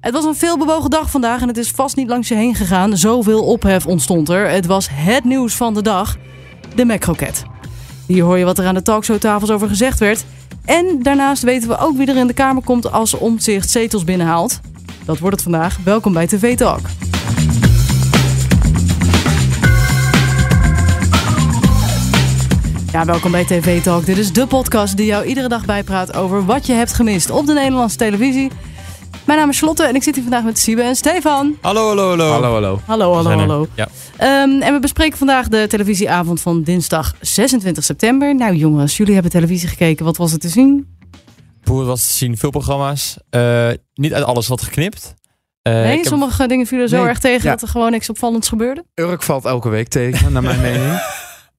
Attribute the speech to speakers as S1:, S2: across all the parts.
S1: Het was een veelbewogen dag vandaag en het is vast niet langs je heen gegaan. Zoveel ophef ontstond er. Het was het nieuws van de dag. De Mac-kroket. Hier hoor je wat er aan de talkshowtafels over gezegd werd. En daarnaast weten we ook wie er in de Kamer komt als omzicht zetels binnenhaalt. Dat wordt het vandaag. Welkom bij TV Talk. Ja, welkom bij TV Talk. Dit is de podcast die jou iedere dag bijpraat over wat je hebt gemist op de Nederlandse televisie. Mijn naam is Charlotte en ik zit hier vandaag met Siebe en Stefan.
S2: Hallo, hallo, hallo.
S3: Hallo, hallo.
S1: Hallo, hallo,
S2: zijn er.
S1: hallo.
S3: Ja.
S1: Ehm, en we bespreken vandaag de televisieavond van dinsdag 26 september. Nou jongens, jullie hebben televisie gekeken. Wat was er te zien?
S2: Hoe het was te zien, veel programma's. Eh, niet uit alles wat geknipt. Eh,
S1: Nee,
S2: ik heb-
S1: sommige dingen vielen zo
S3: Nee,
S1: erg tegen
S3: ja.
S1: dat er gewoon niks opvallends gebeurde.
S3: Urk valt elke week tegen, naar mijn mening.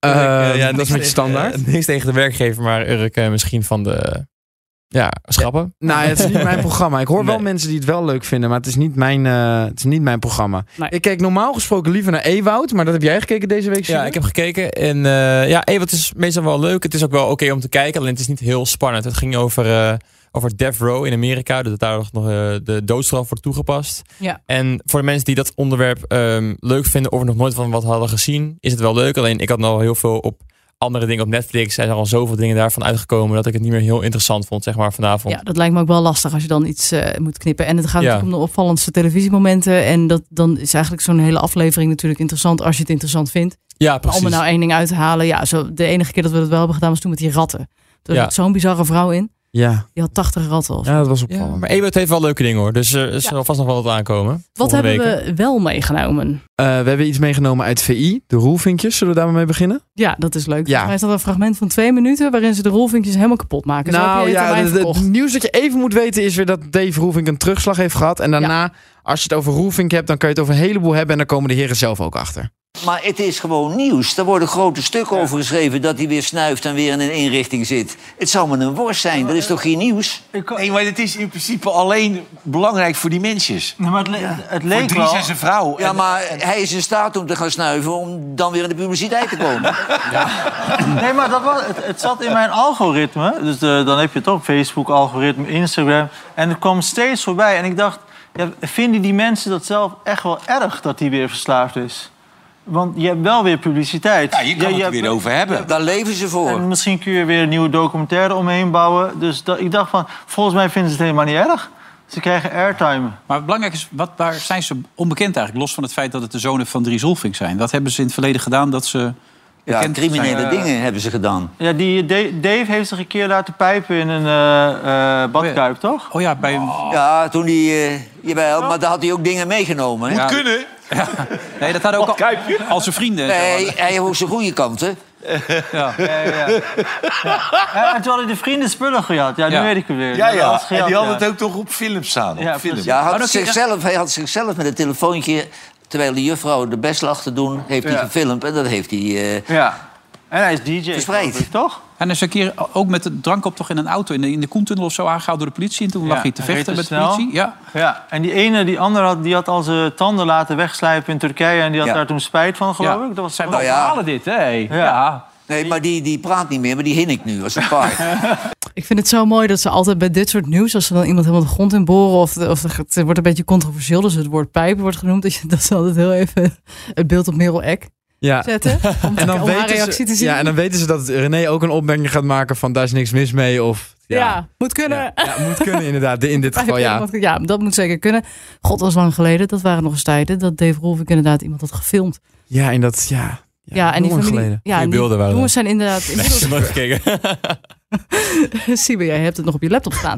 S2: Urk, eh,
S3: Eh,
S2: ja,
S3: dat
S2: niks
S3: is met je
S2: tegen-
S3: standaard.
S2: eh, niks tegen de werkgever, maar Urk eh, misschien van de... eh, ja, schappen.
S3: nou, het is niet mijn programma. Ik hoor wel
S2: Nee.
S3: mensen die het wel leuk vinden, maar het is niet mijn, eh, het is niet mijn programma.
S1: Nee.
S3: Ik kijk normaal gesproken liever naar Ewoud, maar dat heb jij gekeken deze week.
S2: Ja,
S3: Sjoerd?
S2: ik heb gekeken en eh, ja, hey, wat is meestal wel leuk. Het is ook wel oké om te kijken, alleen het is niet heel spannend. Het ging over, eh, over death row in Amerika, dat daar nog eh, de doodstraf wordt toegepast.
S1: Ja.
S2: En voor de mensen die dat onderwerp ehm, leuk vinden of er nog nooit van wat hadden gezien, is het wel leuk. Alleen ik had nou al heel veel op andere dingen op Netflix. Er zijn al zoveel dingen daarvan uitgekomen dat ik het niet meer heel interessant vond, zeg maar, vanavond.
S1: Ja, dat lijkt me ook wel lastig als je dan iets eh, moet knippen. En het gaat
S2: Ja.
S1: natuurlijk om de opvallendste televisiemomenten. En dat, dan is eigenlijk zo'n hele aflevering natuurlijk interessant als je het interessant vindt.
S2: Ja,
S1: Maar
S2: precies.
S1: Om er nou één ding uit te halen. Ja, zo, de enige keer dat we dat wel hebben gedaan was toen met die ratten. Toen
S2: Ja.
S1: had zo'n bizarre vrouw in.
S3: ja.
S1: Die had 80 ratten. of
S3: ja, dat was
S2: Ja,
S3: opvallend.
S2: maar Ebert heeft wel leuke dingen hoor. Dus er zal vast nog wel wat aankomen.
S1: Wat
S2: volgende
S1: hebben
S2: weken.
S1: we wel meegenomen?
S3: Eh, we hebben iets meegenomen uit VI, de roelvinkjes. Zullen we daar maar mee beginnen?
S1: Ja, dat is leuk.
S3: Ja.
S1: Hij staat een fragment van twee minuten waarin ze de rolvinkjes helemaal kapot maken. Zo heb je het aan mij
S3: Nou het- het,
S1: verkocht.
S3: nieuws dat je even moet weten is weer dat Dave Roelvink een terugslag heeft gehad. En daarna, als je het over Roelvink hebt, dan kan je het over een heleboel hebben. En dan komen de heren zelf ook achter.
S4: Maar het is gewoon nieuws. Er worden grote stukken over geschreven dat hij weer snuift en weer in een inrichting zit. Het zou maar een worst zijn, dat is toch geen nieuws?
S5: Nee, maar het is in principe alleen belangrijk voor die mensjes.
S6: Nee, maar het, le- het
S5: Voor
S6: leek
S5: Dries
S6: wel...
S5: en zijn vrouw.
S4: Ja,
S5: En-
S4: maar hij is in staat om te gaan snuiven om dan weer in de publiciteit te komen.
S6: Nee, maar dat was, het, het zat in mijn algoritme. Dus eh, dan heb je het ook, Facebook-algoritme, Instagram. En het kwam steeds voorbij. En ik dacht, ja, vinden die mensen dat zelf echt wel erg dat hij weer verslaafd is? Want je hebt wel weer publiciteit.
S5: Ja, je kan het er
S6: hebt-
S5: weer over hebben.
S4: Daar leven ze voor.
S6: En misschien kun je weer een nieuwe documentaire omheen bouwen. Dus dat, ik dacht van, volgens mij vinden ze het helemaal niet erg. Ze krijgen airtime.
S7: Maar belangrijk is, wat, waar zijn ze onbekend eigenlijk? Los van het feit dat het de zonen van Dries Rolfink zijn. Dat hebben ze in het verleden gedaan dat ze...
S4: Ja,
S7: bekend
S4: criminele
S7: zijn. eh,
S4: dingen hebben ze gedaan.
S6: Ja, die Da- Dave heeft zich een keer laten pijpen in een eh, eh, badkuip, toch?
S7: Oh ja, bij...
S4: Ja, toen hij... eh, jawel, maar daar had hij ook dingen meegenomen. hè?
S7: Ja.
S5: Kunnen?
S7: Nee, dat hadden ook al, al zijn vrienden. en zo.
S4: Nee, hij heeft ook zijn goede kanten.
S6: Ja, en toen hadden de vrienden spullen gejat. Ja, nu
S7: Ja.
S6: weet ik het weer.
S5: Ja,
S6: Alles
S5: ja. En
S6: gejat,
S5: die
S6: ja.
S5: hadden het ook toch op film staan. Op
S6: Ja,
S5: film.
S6: precies.
S4: Ja, hij,
S7: Maar
S4: had
S7: dan kun je-
S4: zichzelf, hij had zichzelf met een telefoontje... terwijl de juffrouw de best lag te doen, heeft hij
S6: Ja.
S4: gefilmd. En dat heeft hij... eh,
S6: Ja. En hij is DJ.
S4: Verspreid.
S6: geloof ik, Toch?
S7: En is een keer ook met de drankoptocht in een auto... in de, in de Koentunnel of zo aangehouden door de politie. En toen
S6: Ja,
S7: lag hij te
S6: hij
S7: vechten
S6: reed
S7: met
S6: te
S7: de
S6: snel.
S7: politie. Ja.
S6: Ja. En die ene, die andere, had, die had al zijn tanden laten wegslijpen in Turkije. En die had
S4: Ja.
S6: daar toen spijt van, geloof
S7: Ja.
S6: ik. Dat was
S7: Zijn
S6: toch
S7: wel
S4: Nou ja.
S7: verhalen dit, hè? Ja.
S4: Nee, maar die, die praat niet meer, maar die hin ik nu als een paard.
S1: Ik vind het zo mooi dat ze altijd bij dit soort nieuws, als ze dan iemand helemaal de grond in boren of, de- of het wordt een beetje controversieel, dus het woord pijpen wordt genoemd, dat, je, dat ze altijd heel even het beeld op Merel Eck
S3: Ja,
S1: zetten. Om,
S3: En dan,
S1: om haar
S3: weten
S1: reactie
S3: ze,
S1: te zien.
S3: ja, en dan weten ze dat René ook een opmerking gaat maken van daar is niks mis mee. Of, ja,
S1: Ja, moet kunnen.
S3: Ja, ja, moet kunnen inderdaad. In dit geval ja.
S1: Want, ja, dat moet zeker kunnen. God, dat was lang geleden. Dat waren nog eens tijden dat Dave Rolfink inderdaad iemand had gefilmd.
S3: Ja, en dat ja. Ja,
S1: en die
S3: lang
S1: familie,
S3: geleden.
S1: Ja, en
S2: Goeie
S1: die
S2: beelden waren
S1: jongens zijn inderdaad... inmiddels-
S2: Nooit gekeken.
S1: Siebe, jij hebt het nog op je laptop staan.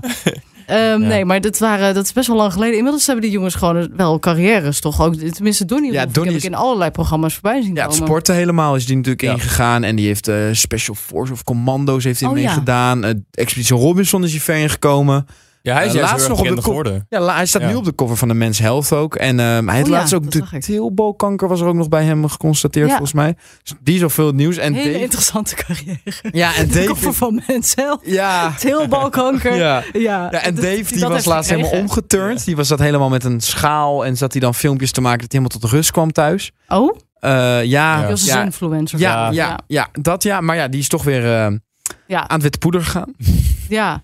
S1: Ehm, Nee, maar dit waren, dat is best wel lang geleden. Inmiddels hebben die jongens gewoon wel carrières, toch? Ook, tenminste, Donnie,
S3: Ja,
S1: ja,
S3: Donnie
S1: heb
S3: is-
S1: ik in allerlei programma's voorbij zien
S3: Ja, het
S1: komen.
S3: sporten helemaal is die natuurlijk
S2: Ja.
S3: ingegaan. En die heeft eh, Special Force of Commando's heeft hij
S1: Oh, ja.
S3: meegedaan. Eh, Expeditie Robinson is hier ver in gekomen.
S2: Ja, hij is
S3: Eh,
S2: juist
S3: laatst
S2: heel erg
S3: nog op de
S2: bekend
S3: kop-
S2: geworden.
S3: Ja, la- hij staat
S2: Ja.
S3: nu op de cover van de Men's Health ook. En ehm, hij heeft
S1: Oh ja,
S3: laatst ook
S1: dat zag
S3: de
S1: ik.
S3: teelbalkanker was er ook nog bij hem geconstateerd
S1: Ja.
S3: volgens mij. Dus die is al veel nieuws. En
S1: Hele
S3: Dave,
S1: interessante carrière.
S3: ja, en
S1: De
S3: Dave,
S1: koffer van mensen.
S3: ja,
S1: Teelbalkanker. Ja.
S3: ja. Ja, en
S1: dus
S3: Dave die
S1: dat
S3: was
S1: heeft
S3: laatst helemaal
S1: gekregen.
S3: omgeturnd. Die was dat helemaal met een schaal en zat hij dan filmpjes te maken dat hij helemaal tot rust kwam thuis.
S1: Oh,
S3: Eh, ja,
S1: die
S3: ja,
S1: was een
S3: ja,
S1: influencer.
S3: ja,
S1: ja.
S3: ja, dat ja. Maar ja, die is toch weer eh,
S1: Ja.
S3: aan het witte poeder gegaan.
S1: Ja.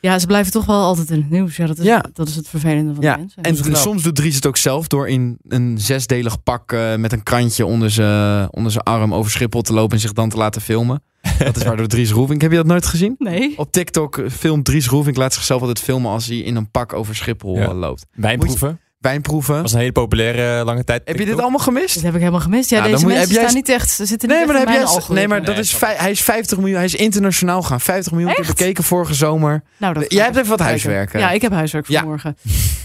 S1: Ja, ze blijven toch wel altijd in het nieuws. Ja, dat is,
S3: Ja.
S1: dat is het vervelende van
S3: Ja,
S1: de mensen.
S3: en
S2: Dat is knap.
S3: soms doet Dries het ook zelf door in een zesdelig pak eh, met een krantje onder zijn onder zijn arm over Schiphol te lopen en zich dan te laten filmen. Dat is waardoor Dries Roefink, heb je dat nooit gezien?
S1: Nee.
S3: Op TikTok eh, filmt Dries Roefink, laat zichzelf altijd filmen als hij in een pak over Schiphol
S2: Ja.
S3: eh, loopt.
S2: Wijnproeven.
S3: Wijnproeven.
S2: was een hele populaire eh, lange tijd.
S3: Heb je dit
S2: TikTok.
S3: allemaal gemist?
S1: Dat heb ik helemaal gemist. Ja,
S3: Ja, Nou, dan
S1: deze
S3: moet je-
S1: mensen
S3: heb jij-
S1: staan niet echt, ze zitten niet
S3: Nee, maar,
S1: echt
S3: dan
S1: in
S3: heb
S1: mijn
S3: jij, nee, maar
S1: algoritme.
S3: dat
S2: Nee,
S3: is, vij- hij is 50 miljoen, hij is internationaal gaan. 50 miljoen keer
S1: Echt?
S3: bekeken vorige zomer.
S1: Nou, dat
S3: Jij hebt even wat huiswerken.
S1: Ja, ik heb huiswerk
S3: Ja.
S1: vanmorgen.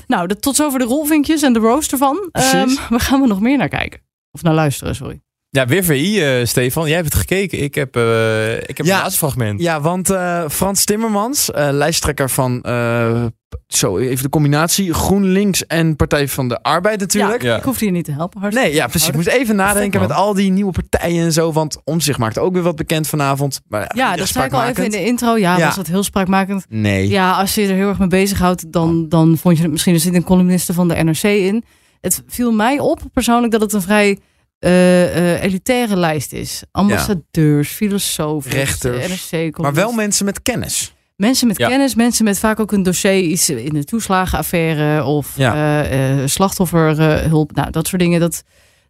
S1: nou, de, tot zover de rolvinkjes en de roast ervan.
S3: Precies.
S1: Ehm, we gaan er nog meer naar kijken. Of naar luisteren, sorry.
S2: Ja, weer VI, eh, Stefan. Jij hebt het gekeken. Ik heb, eh, ik heb
S3: Ja.
S2: het laatste fragment.
S3: Ja, want eh, Frans Timmermans, eh, lijsttrekker van, eh, zo even de combinatie, GroenLinks en Partij van de Arbeid natuurlijk.
S2: Ja.
S1: Ik hoefde je niet te helpen. Hartstikke
S3: Nee, ja, precies. Ik
S1: houden.
S3: moest even nadenken
S2: man.
S3: met al die nieuwe partijen en zo, want Omzicht maakt ook weer wat bekend vanavond. Maar, ja,
S1: Ja,
S3: ieder
S1: dat zei ik al even in
S3: spraakmakend.
S1: de intro. Ja,
S3: Ja.
S1: was dat heel spraakmakend.
S3: Nee.
S1: Ja, als je er heel erg mee bezighoudt, dan, dan vond je het misschien... Er zit een columniste van de NRC in. Het viel mij op persoonlijk dat het een vrij eh, eh, elitaire lijst is. Ambassadeurs, filosofen,
S3: Rechters.
S1: NRC,
S3: Maar wel mensen met kennis.
S1: Mensen met
S2: Ja.
S1: kennis, mensen met vaak ook een dossier, iets in de toeslagenaffaire of
S3: Ja.
S1: eh, eh, slachtofferhulp. nou, dat soort dingen. Dat,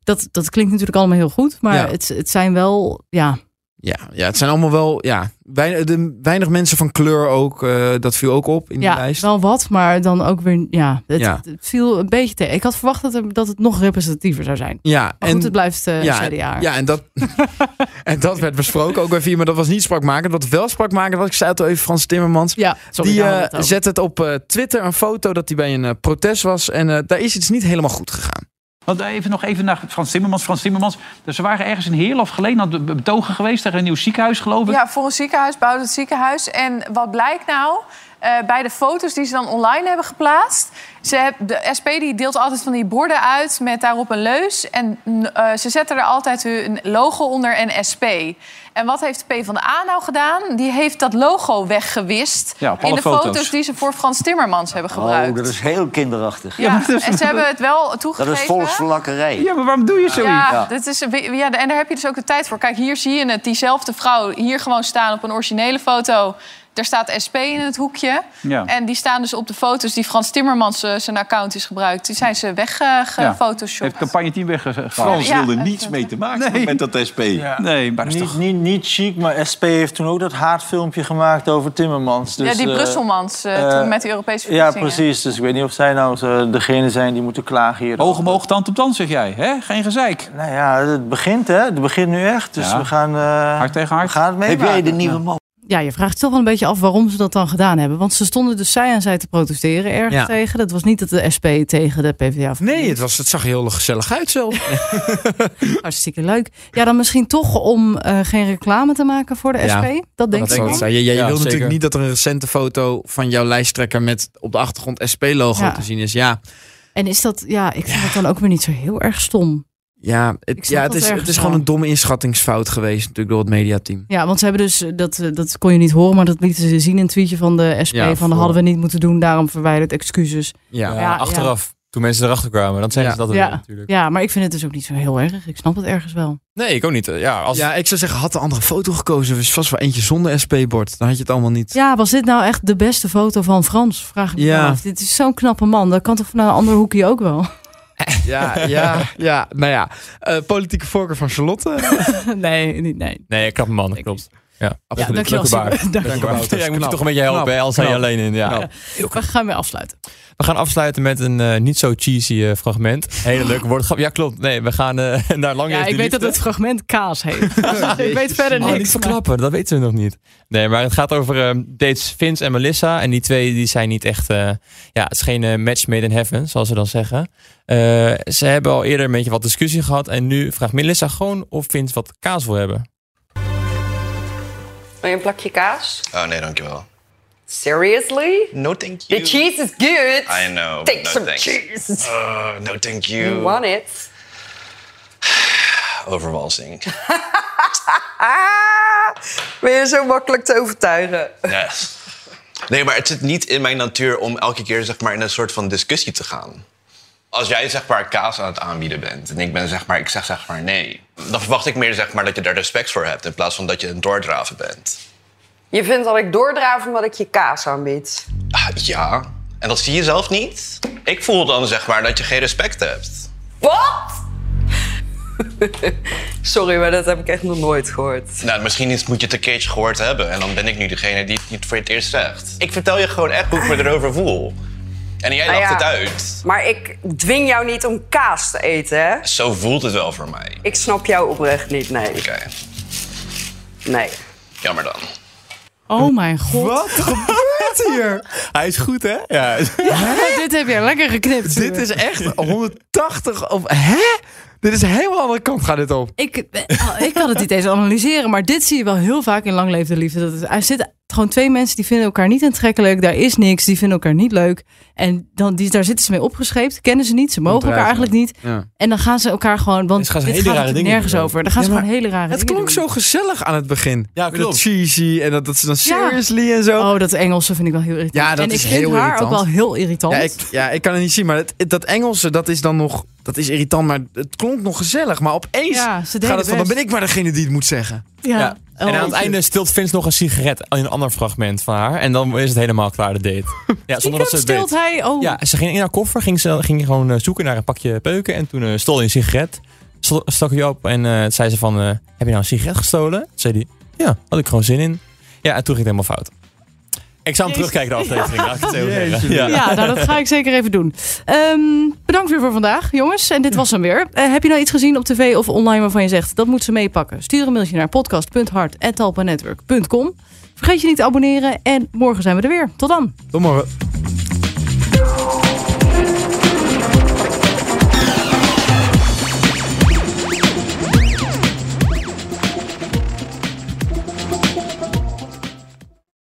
S1: dat, dat klinkt natuurlijk allemaal heel goed, maar
S3: Ja.
S1: het, het zijn wel, ja,
S3: Ja, ja het zijn allemaal wel, ja, weinig, de, weinig mensen van kleur ook. eh, dat viel ook op in
S1: ja
S3: die lijst.
S1: wel wat, maar dan ook weer, ja, het,
S3: Ja.
S1: het viel een beetje tegen. Ik had verwacht dat, er, dat het nog representatiever zou zijn.
S3: Ja,
S1: Maar goed, het blijft eh
S3: ja,
S1: CDA.
S3: ja, en dat, en dat werd besproken ook bij vier, maar dat was niet sprakmakend. Wat wel sprakmakend was, ik zei het al even, Frans Timmermans.
S1: Ja, sorry,
S3: die
S1: daar
S3: eh,
S1: hadden we het over.
S3: zet het op eh, Twitter, een foto dat hij bij een eh, protest was. En eh, daar is iets niet helemaal goed gegaan.
S8: Want even nog even naar Frans Timmermans. Frans Timmermans, dus ze waren ergens in Heerlen of Geleen aan het be- betogen geweest tegen een nieuw ziekenhuis, geloof ik.
S9: Ja, voor een ziekenhuis, bouwt het ziekenhuis. En wat blijkt nou? eh, bij de foto's die ze dan online hebben geplaatst. Ze heb, de SP die deelt altijd van die borden uit met daarop een leus. En mm, eh, ze zetten er altijd hun logo onder en SP. En wat heeft de PvdA nou gedaan? Die heeft dat logo weggewist
S7: Ja, op alle
S9: in de
S7: foto's.
S9: foto's. die ze voor Frans Timmermans hebben
S4: Oh,
S9: gebruikt.
S4: dat is heel kinderachtig.
S9: ja, en ze hebben het wel
S4: Dat
S9: toegegeven.
S4: is volksverlakkerij.
S8: Ja, maar waarom doe je zoiets?
S9: Ja, dit is, ja, en daar heb je dus ook de tijd voor. Kijk, hier zie je het. Diezelfde vrouw hier gewoon staan op een originele foto. Daar staat SP in het hoekje.
S7: Ja.
S9: En die staan dus op de foto's die Frans Timmermans eh, zijn account is gebruikt. Die zijn ze eh,
S7: Ja.
S9: weggefotoshopt.
S8: Heeft campagne team weggegaan.
S5: Frans
S9: Ja,
S5: wilde
S9: ja,
S5: niets
S9: dat-
S5: mee te maken hebben met dat SP.
S7: Nee, maar dat is
S6: Niet,
S7: toch...
S6: niet, niet chic, maar SP heeft toen ook dat haatfilmpje gemaakt over Timmermans. Dus,
S9: ja, die
S6: eh,
S9: Brusselmans eh,
S6: eh,
S9: toen met de Europese
S6: Ja,
S9: verkiezingen.
S6: precies. Dus ik weet niet of zij nou eh, degene zijn die moeten klagen hier.
S7: Oog omhoog, tand op tand, zeg jij. Hè? Geen gezeik.
S6: Nou ja, het begint hè. Het begint nu echt. Dus
S7: Ja.
S6: we gaan, eh,
S7: Hart tegen hart.
S6: we gaan het
S4: Heb
S6: meemaken.
S4: jij de nieuwe man?
S1: Ja, je vraagt je toch wel een beetje af waarom ze dat dan gedaan hebben. Want ze stonden dus zij aan zij te protesteren ergens
S3: Ja.
S1: tegen. Dat was niet dat de SP tegen de PvdA of
S3: Nee, het, was, het zag er heel gezellig uit zelf.
S1: Hartstikke leuk. Ja, dan misschien toch om eh, geen reclame te maken voor de
S3: Ja,
S1: SP. Dat denk
S3: Dat
S1: ik
S3: zou
S1: wel.
S3: het zijn. Je, je, je
S2: Ja,
S3: wil
S2: zeker.
S3: natuurlijk niet dat er een recente foto van jouw lijsttrekker met op de achtergrond SP-logo
S1: Ja.
S3: te zien is. Ja,
S1: En is dat, ja, ik vind het dan ook weer niet zo heel erg stom.
S3: ja,
S1: Ik
S3: het,
S1: snap
S3: ja, het
S1: dat
S3: is,
S1: ergens
S3: het is
S1: wel.
S3: gewoon een domme inschattingsfout geweest natuurlijk door het mediateam.
S1: Ja, want ze hebben dus, eh, dat, eh, dat kon je niet horen, maar dat lieten ze zien in een tweetje van de SP.
S3: Ja,
S1: van
S3: voor-
S1: dat hadden we niet moeten doen, daarom verwijderd excuses.
S3: Ja.
S2: Ja,
S1: Ja,
S2: achteraf. Toen mensen erachter kwamen, dan zeggen
S3: Ja.
S2: ze dat
S1: Ja.
S2: weer, natuurlijk.
S1: Ja, maar ik vind het dus ook niet zo heel erg. Ik snap het ergens wel.
S2: Nee, ik ook niet. Ja, als,
S3: Ja, ik zou zeggen, had de andere foto gekozen, was vast wel eentje zonder SP-bord. Dan had je het allemaal niet.
S1: Ja, was dit nou echt de beste foto van Frans? Vraag ik me
S3: Ja.
S1: af. Dit is zo'n knappe man. Dat kan toch vanuit een ander hoekje ook wel?
S3: Ja, ja, ja. Nou ja, Eh, politieke voorkeur van Charlotte.
S1: nee, niet, nee.
S2: Nee, knappe man, dat
S1: Ik
S2: klopt. Ja,
S3: Ja,
S2: absoluut.
S1: dankjewel,
S2: Leuke baard.
S1: Sjoerd. Dankjewel.
S2: Leuke baard. Ja, ik moet je
S3: Knap.
S2: toch een beetje helpen,
S3: Knap.
S2: hè, anders zijn je
S3: Knap.
S2: alleen in. Ja.
S3: Knap.
S1: We gaan weer afsluiten.
S2: We gaan afsluiten met een eh, niet zo cheesy eh, fragment. Hele leuke woordgrap. Ja, klopt. Nee, we gaan eh, naar lang
S1: Ja,
S2: Leef
S1: ik
S2: de
S1: weet dat
S2: Liefde.
S1: het fragment kaas heet. ik weet verder
S2: Oh,
S1: niks.
S2: niet
S1: maar-
S2: verklappen, dat weten we nog niet. Nee, maar het gaat over ehm, dates Vince en Melissa. En die twee die zijn niet echt... eh, ja, het is geen eh, match made in heaven, zoals ze dan zeggen. Eh, ze hebben al eerder een beetje wat discussie gehad. En nu vraagt Melissa gewoon of Vince wat kaas wil hebben.
S10: Wil je een plakje kaas?
S11: Oh nee, dankjewel.
S10: Seriously?
S11: No thank you.
S10: The cheese is good.
S11: I know,
S10: Take
S11: no
S10: some
S11: thanks.
S10: cheese.
S11: Uh, no thank you.
S10: You want it?
S11: Overwalsing.
S10: Ah, ben je zo makkelijk te overtuigen?
S11: Yes. Nee, maar het zit niet in mijn natuur om elke keer zeg maar, in een soort van discussie te gaan. Als jij zeg maar kaas aan het aanbieden bent en ik, ben, zeg maar, ik zeg zeg maar nee... dan verwacht ik meer zeg maar, dat je daar respect voor hebt... in plaats van dat je een doordraven bent.
S10: Je vindt dat ik doordraaf omdat ik je kaas aanbied.
S11: Ja, en dat zie je zelf niet. Ik voel dan zeg maar dat je geen respect hebt.
S10: Wat? Sorry, maar dat heb ik echt nog nooit gehoord.
S11: Nou, misschien is- moet je het een keertje gehoord hebben. En dan ben ik nu degene die het niet voor het eerst zegt. Ik vertel je gewoon echt hoe ik me erover voel. En jij
S10: Nou
S11: lacht
S10: ja,
S11: het uit.
S10: Maar ik dwing jou niet om kaas te eten, hè?
S11: Zo voelt het wel voor mij.
S10: Ik snap jou oprecht niet, nee. Oké. Nee.
S11: Jammer dan.
S1: Oh mijn god.
S3: Wat gebeurt hier?
S2: Hij is goed, hè? Ja.
S1: Dit heb jij lekker geknipt.
S3: Dit is echt 180 of... Hè? Dit is helemaal andere kant gaat dit op.
S1: Ik, eh, ik kan het niet eens analyseren, maar dit zie je wel heel vaak in Lang Leefde Liefde. Dat het- er zitten gewoon twee mensen die vinden elkaar niet aantrekkelijk. Daar is niks, die vinden elkaar niet leuk. En dan, die, daar zitten ze mee opgescheept, kennen ze niet, ze mogen elkaar
S3: Bedrijven.
S1: eigenlijk niet.
S3: Ja.
S1: En dan gaan ze elkaar gewoon, want
S2: gaan ze
S1: dit
S2: hele
S1: gaat
S2: rare
S1: natuurlijk
S2: dingen
S1: nergens
S2: doen.
S1: over. Dan gaan
S3: Ja,
S1: ze
S3: maar
S1: gewoon hele rare
S3: Het
S1: dingen
S3: klonk
S1: doen.
S3: zo gezellig aan het begin.
S2: Ja,
S3: Met
S2: klopt.
S3: Dat cheesy en dat, dat ze dan seriously en zo.
S1: Oh, dat Engelse vind ik wel heel irritant.
S3: Ja, dat
S1: en
S3: is
S1: ik vind
S3: heel
S1: haar ook
S3: irritant.
S1: wel heel irritant.
S3: Ja ik, ja, ik kan het niet zien, maar het- het- dat Engelse, dat is dan nog... Dat is irritant, maar het klonk nog gezellig. Maar opeens
S1: Ja, ze deden
S3: gaat het van, dan
S1: best.
S3: ben ik maar degene die het moet zeggen.
S1: Ja. Oh,
S2: Ja. En aan het einde stilt Vince nog een sigaret in een ander fragment van haar. En dan is het helemaal klaar, de date. Ja, zonder dat ze het
S1: stilt
S2: weet.
S1: hij. Oh,
S2: Ja, ze ging in haar koffer, ging, ze, ging gewoon eh, zoeken naar een pakje peuken. En toen eh, stol hij een sigaret. Stel- Stak hij op en eh, zei ze van, eh, heb je nou een sigaret gestolen? Toen zei hij, ja, had ik gewoon zin in. Ja, en toen ging het helemaal fout. Ik zou hem
S1: Jezus.
S2: terugkijken, de aflevering. laat ik het zo zeggen. Ja.
S1: Ja, nou, dat ga ik zeker even doen. Ehm, bedankt weer voor vandaag, jongens. En dit was hem weer. Eh, heb je nou iets gezien op tv of online waarvan je zegt dat moet ze meepakken? Stuur een mailtje naar podcast.hart.talpanetwork.com. Vergeet je niet te abonneren en morgen zijn we er weer. Tot dan.
S3: Tot morgen.